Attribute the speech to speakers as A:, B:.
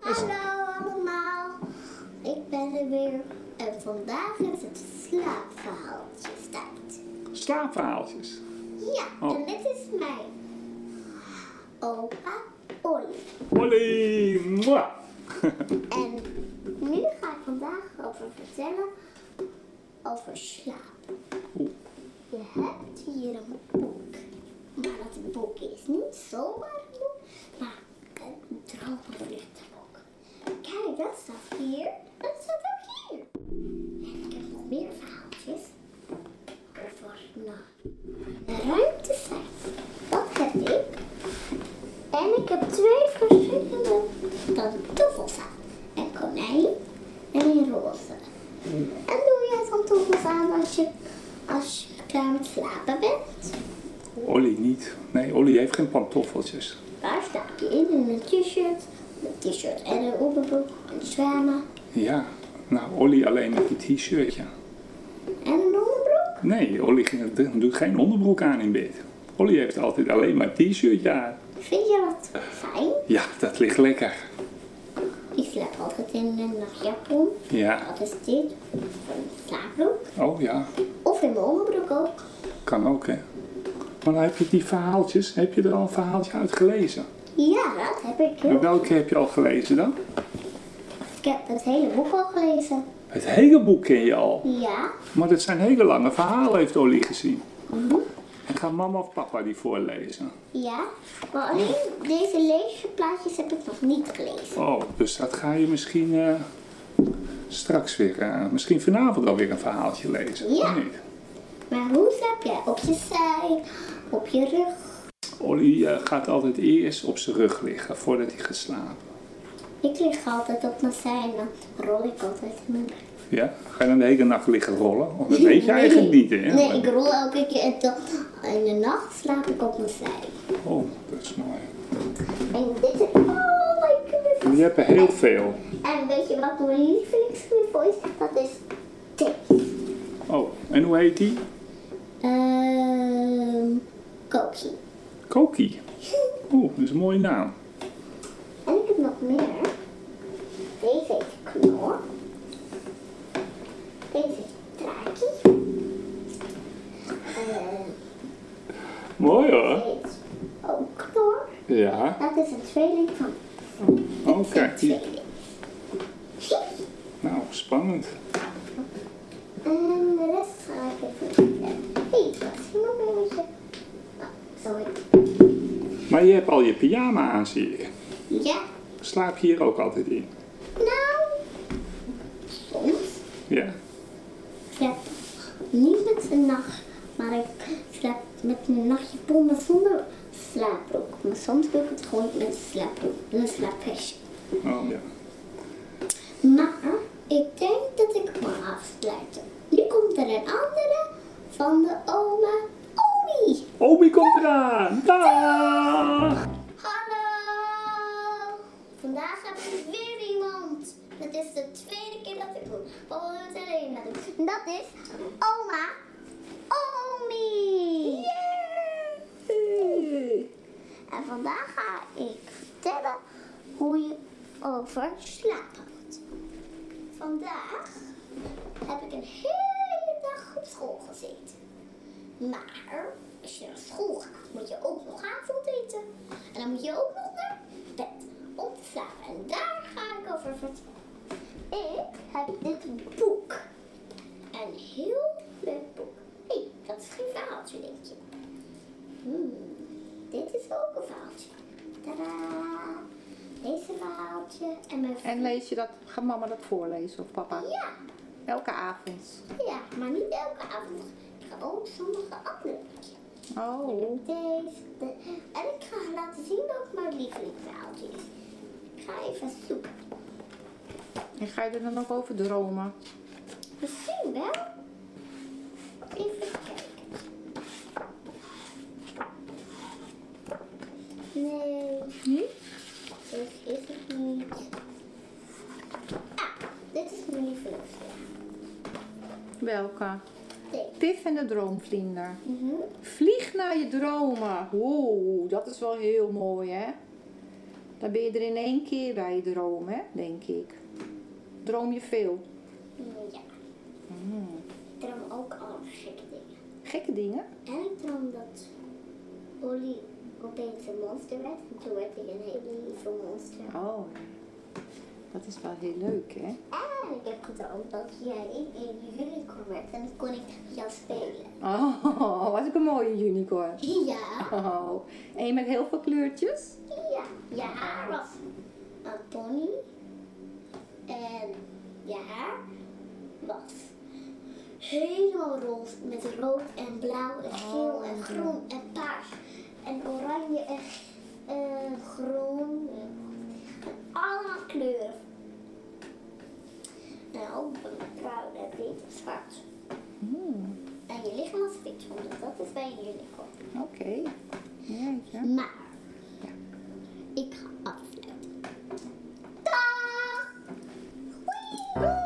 A: Hallo allemaal, ik ben er weer en vandaag is het slaapverhaaltjes tijd.
B: Slaapverhaaltjes.
A: Ja,
B: Oh.
A: en dit is mijn opa Olly.
B: Olly! Mwah.
A: En nu ga ik vandaag over vertellen over slaap.
B: Oeh.
A: Je hebt hier een boek, maar dat boek is niet zomaar een boek, maar een droomvluchtenboek. Kijk, dat staat hier, dat staat ook hier. En ik heb nog meer verhaaltjes over nou, de ruimte zijn. Dat heb ik. En ik heb twee verschillende pantoffels aan. Een konijn en een roze. En doe jij pantoffels aan als je, als je klaar met slapen bent?
B: Olly niet. Nee, Olly heeft geen pantoffeltjes.
A: Daar slaap je in, in een t-shirt. Een t-shirt en een onderbroek, een zwemmen
B: Ja. Nou, Olly alleen met die t-shirtje.
A: en een onderbroek.
B: Nee, Olly ging- doet geen onderbroek aan in bed. Olly heeft altijd alleen maar een t-shirtje aan.
A: Vind je dat fijn?
B: Ja, dat ligt lekker.
A: Ik slaap altijd in een nachtjapon.
B: Ja.
A: Dat is dit. Of een slaapbroek.
B: Oh ja,
A: Of in mijn onderbroek ook.
B: kan ook hè. Maar dan heb je die verhaaltjes, heb je er al een verhaaltje uit gelezen?
A: Ja, dat heb ik.
B: En
A: heel-
B: welke heb je al gelezen dan?
A: Ik heb het hele boek al gelezen.
B: Het hele boek ken je al.
A: Ja,
B: Maar dat zijn hele lange verhalen, heeft Olly gezien. En gaan mama of papa die voorlezen?
A: ja. Maar alleen deze leesplaatjes heb ik nog niet gelezen.
B: Oh, dus dat ga je misschien eh, straks weer, eh, misschien vanavond alweer een verhaaltje lezen.
A: Ja.
B: of niet?
A: Maar hoe slaap jij? Op je zij, op je rug.
B: Olly eh, gaat altijd eerst op zijn rug liggen voordat hij gaat slapen.
A: Ik lig altijd op mijn zij en dan rol ik altijd in mijn bed.
B: Ja? Ga je dan de hele nacht liggen rollen? Want dat weet je eigenlijk niet, hè?
A: Nee, ik rol elke keer en dan in de nacht slaap ik op mijn zij.
B: Oh, dat is mooi.
A: En dit is, oh my goodness.
B: Je hebt er heel veel.
A: En weet je wat mijn lievelingsknuffel is? Dat is deze.
B: Oh, en hoe heet die?
A: Ehm, Koki.
B: Koki. Oeh, dat is een mooie naam.
A: En ik heb nog meer. Deze heet Knor. Deze heet Traki. Eh,
B: Mooi hoor.
A: Deze heet ook Knor.
B: Ja.
A: Dat is een tweeling van
B: Oké.
A: een tweeling.
B: Nou, spannend.
A: En de rest ga ik even vertellen. Hé, hey, wat is hier nog een beetje? Nou, sorry.
B: Maar je hebt al je pyjama aan, zie ik.
A: Ja,
B: Slaap je hier ook altijd in?
A: nou. Soms.
B: Ja.
A: Ik slaap niet met een nacht, maar ik slaap met een nachtjapon maar zonder slaapbroek. Maar soms doe ik het gewoon met een slaapbroek, met een slaaphesje.
B: Oh, ja.
A: Maar ik denk dat ik mag afsluiten. Nu komt er een andere van de oma Omi.
B: Omi komt eraan! Dag!
A: Hallo! Vandaag heb ik weer iemand. Dat is de tweede keer dat ik doe. Waarom we het alleen dat doen. Dat is oma Omi. En vandaag ga ik vertellen hoe je over slapen moet. Vandaag heb ik een hele dag op school gezeten. Maar als je naar school gaat, moet je ook nog avond eten. En dan moet je ook nog naar bed om te slapen. En daar ga ik over vertellen. Ik heb dit boek. Een heel leuk boek. Hé, hey, dat is geen verhaaltje, denk je. Hmm, dit is ook een verhaaltje. Tadaa. Deze verhaaltje en mijn
C: En lees je dat, gaat mama dat voorlezen of papa?
A: Ja,
C: Elke avond.
A: ja, maar niet elke avond. Ik ga ook sommige andere boekjes.
C: Oh.
A: Deze. de- En ik ga laten zien wat mijn lievelingsverhaaltje is. Ik ga even zoeken.
C: En ga je er dan ook over dromen?
A: Misschien wel. Even kijken. Nee,
C: Niet?
A: dit is het niet. Ah, dit is mijn lievelingsverhaal.
C: Welke?
A: Deze.
C: Pif en de droomvlinder.
A: Mhm.
C: Vlieg naar je dromen. Wow, dat is wel heel mooi hè? Dan ben je er in één keer bij je droom, hè, denk ik. Droom je veel?
A: Ja. Ik droom ook al gekke dingen.
C: Gekke dingen?
A: En ik droom dat Olly opeens een monster werd. En toen werd hij een heel lieve monster.
C: Oh, dat is wel heel leuk, hè?
A: En ik heb gedroomd dat jij een unicorn werd. En dan kon ik met jou spelen.
C: Oh, was ik een mooie unicorn.
A: Ja.
C: Oh, en met heel veel kleurtjes?
A: Ja. Je haar was een pony. En je haar was helemaal roze. Met rood en blauw en geel en groen en paars. En oranje en eh, groen. Allemaal kleuren. En ook bruin en wit en zwart. En je lichaam was wit, want dat is bij een unicorn.
C: Oké. Jeetje.
A: Maar ik ga afsluiten. Dag! Hoi!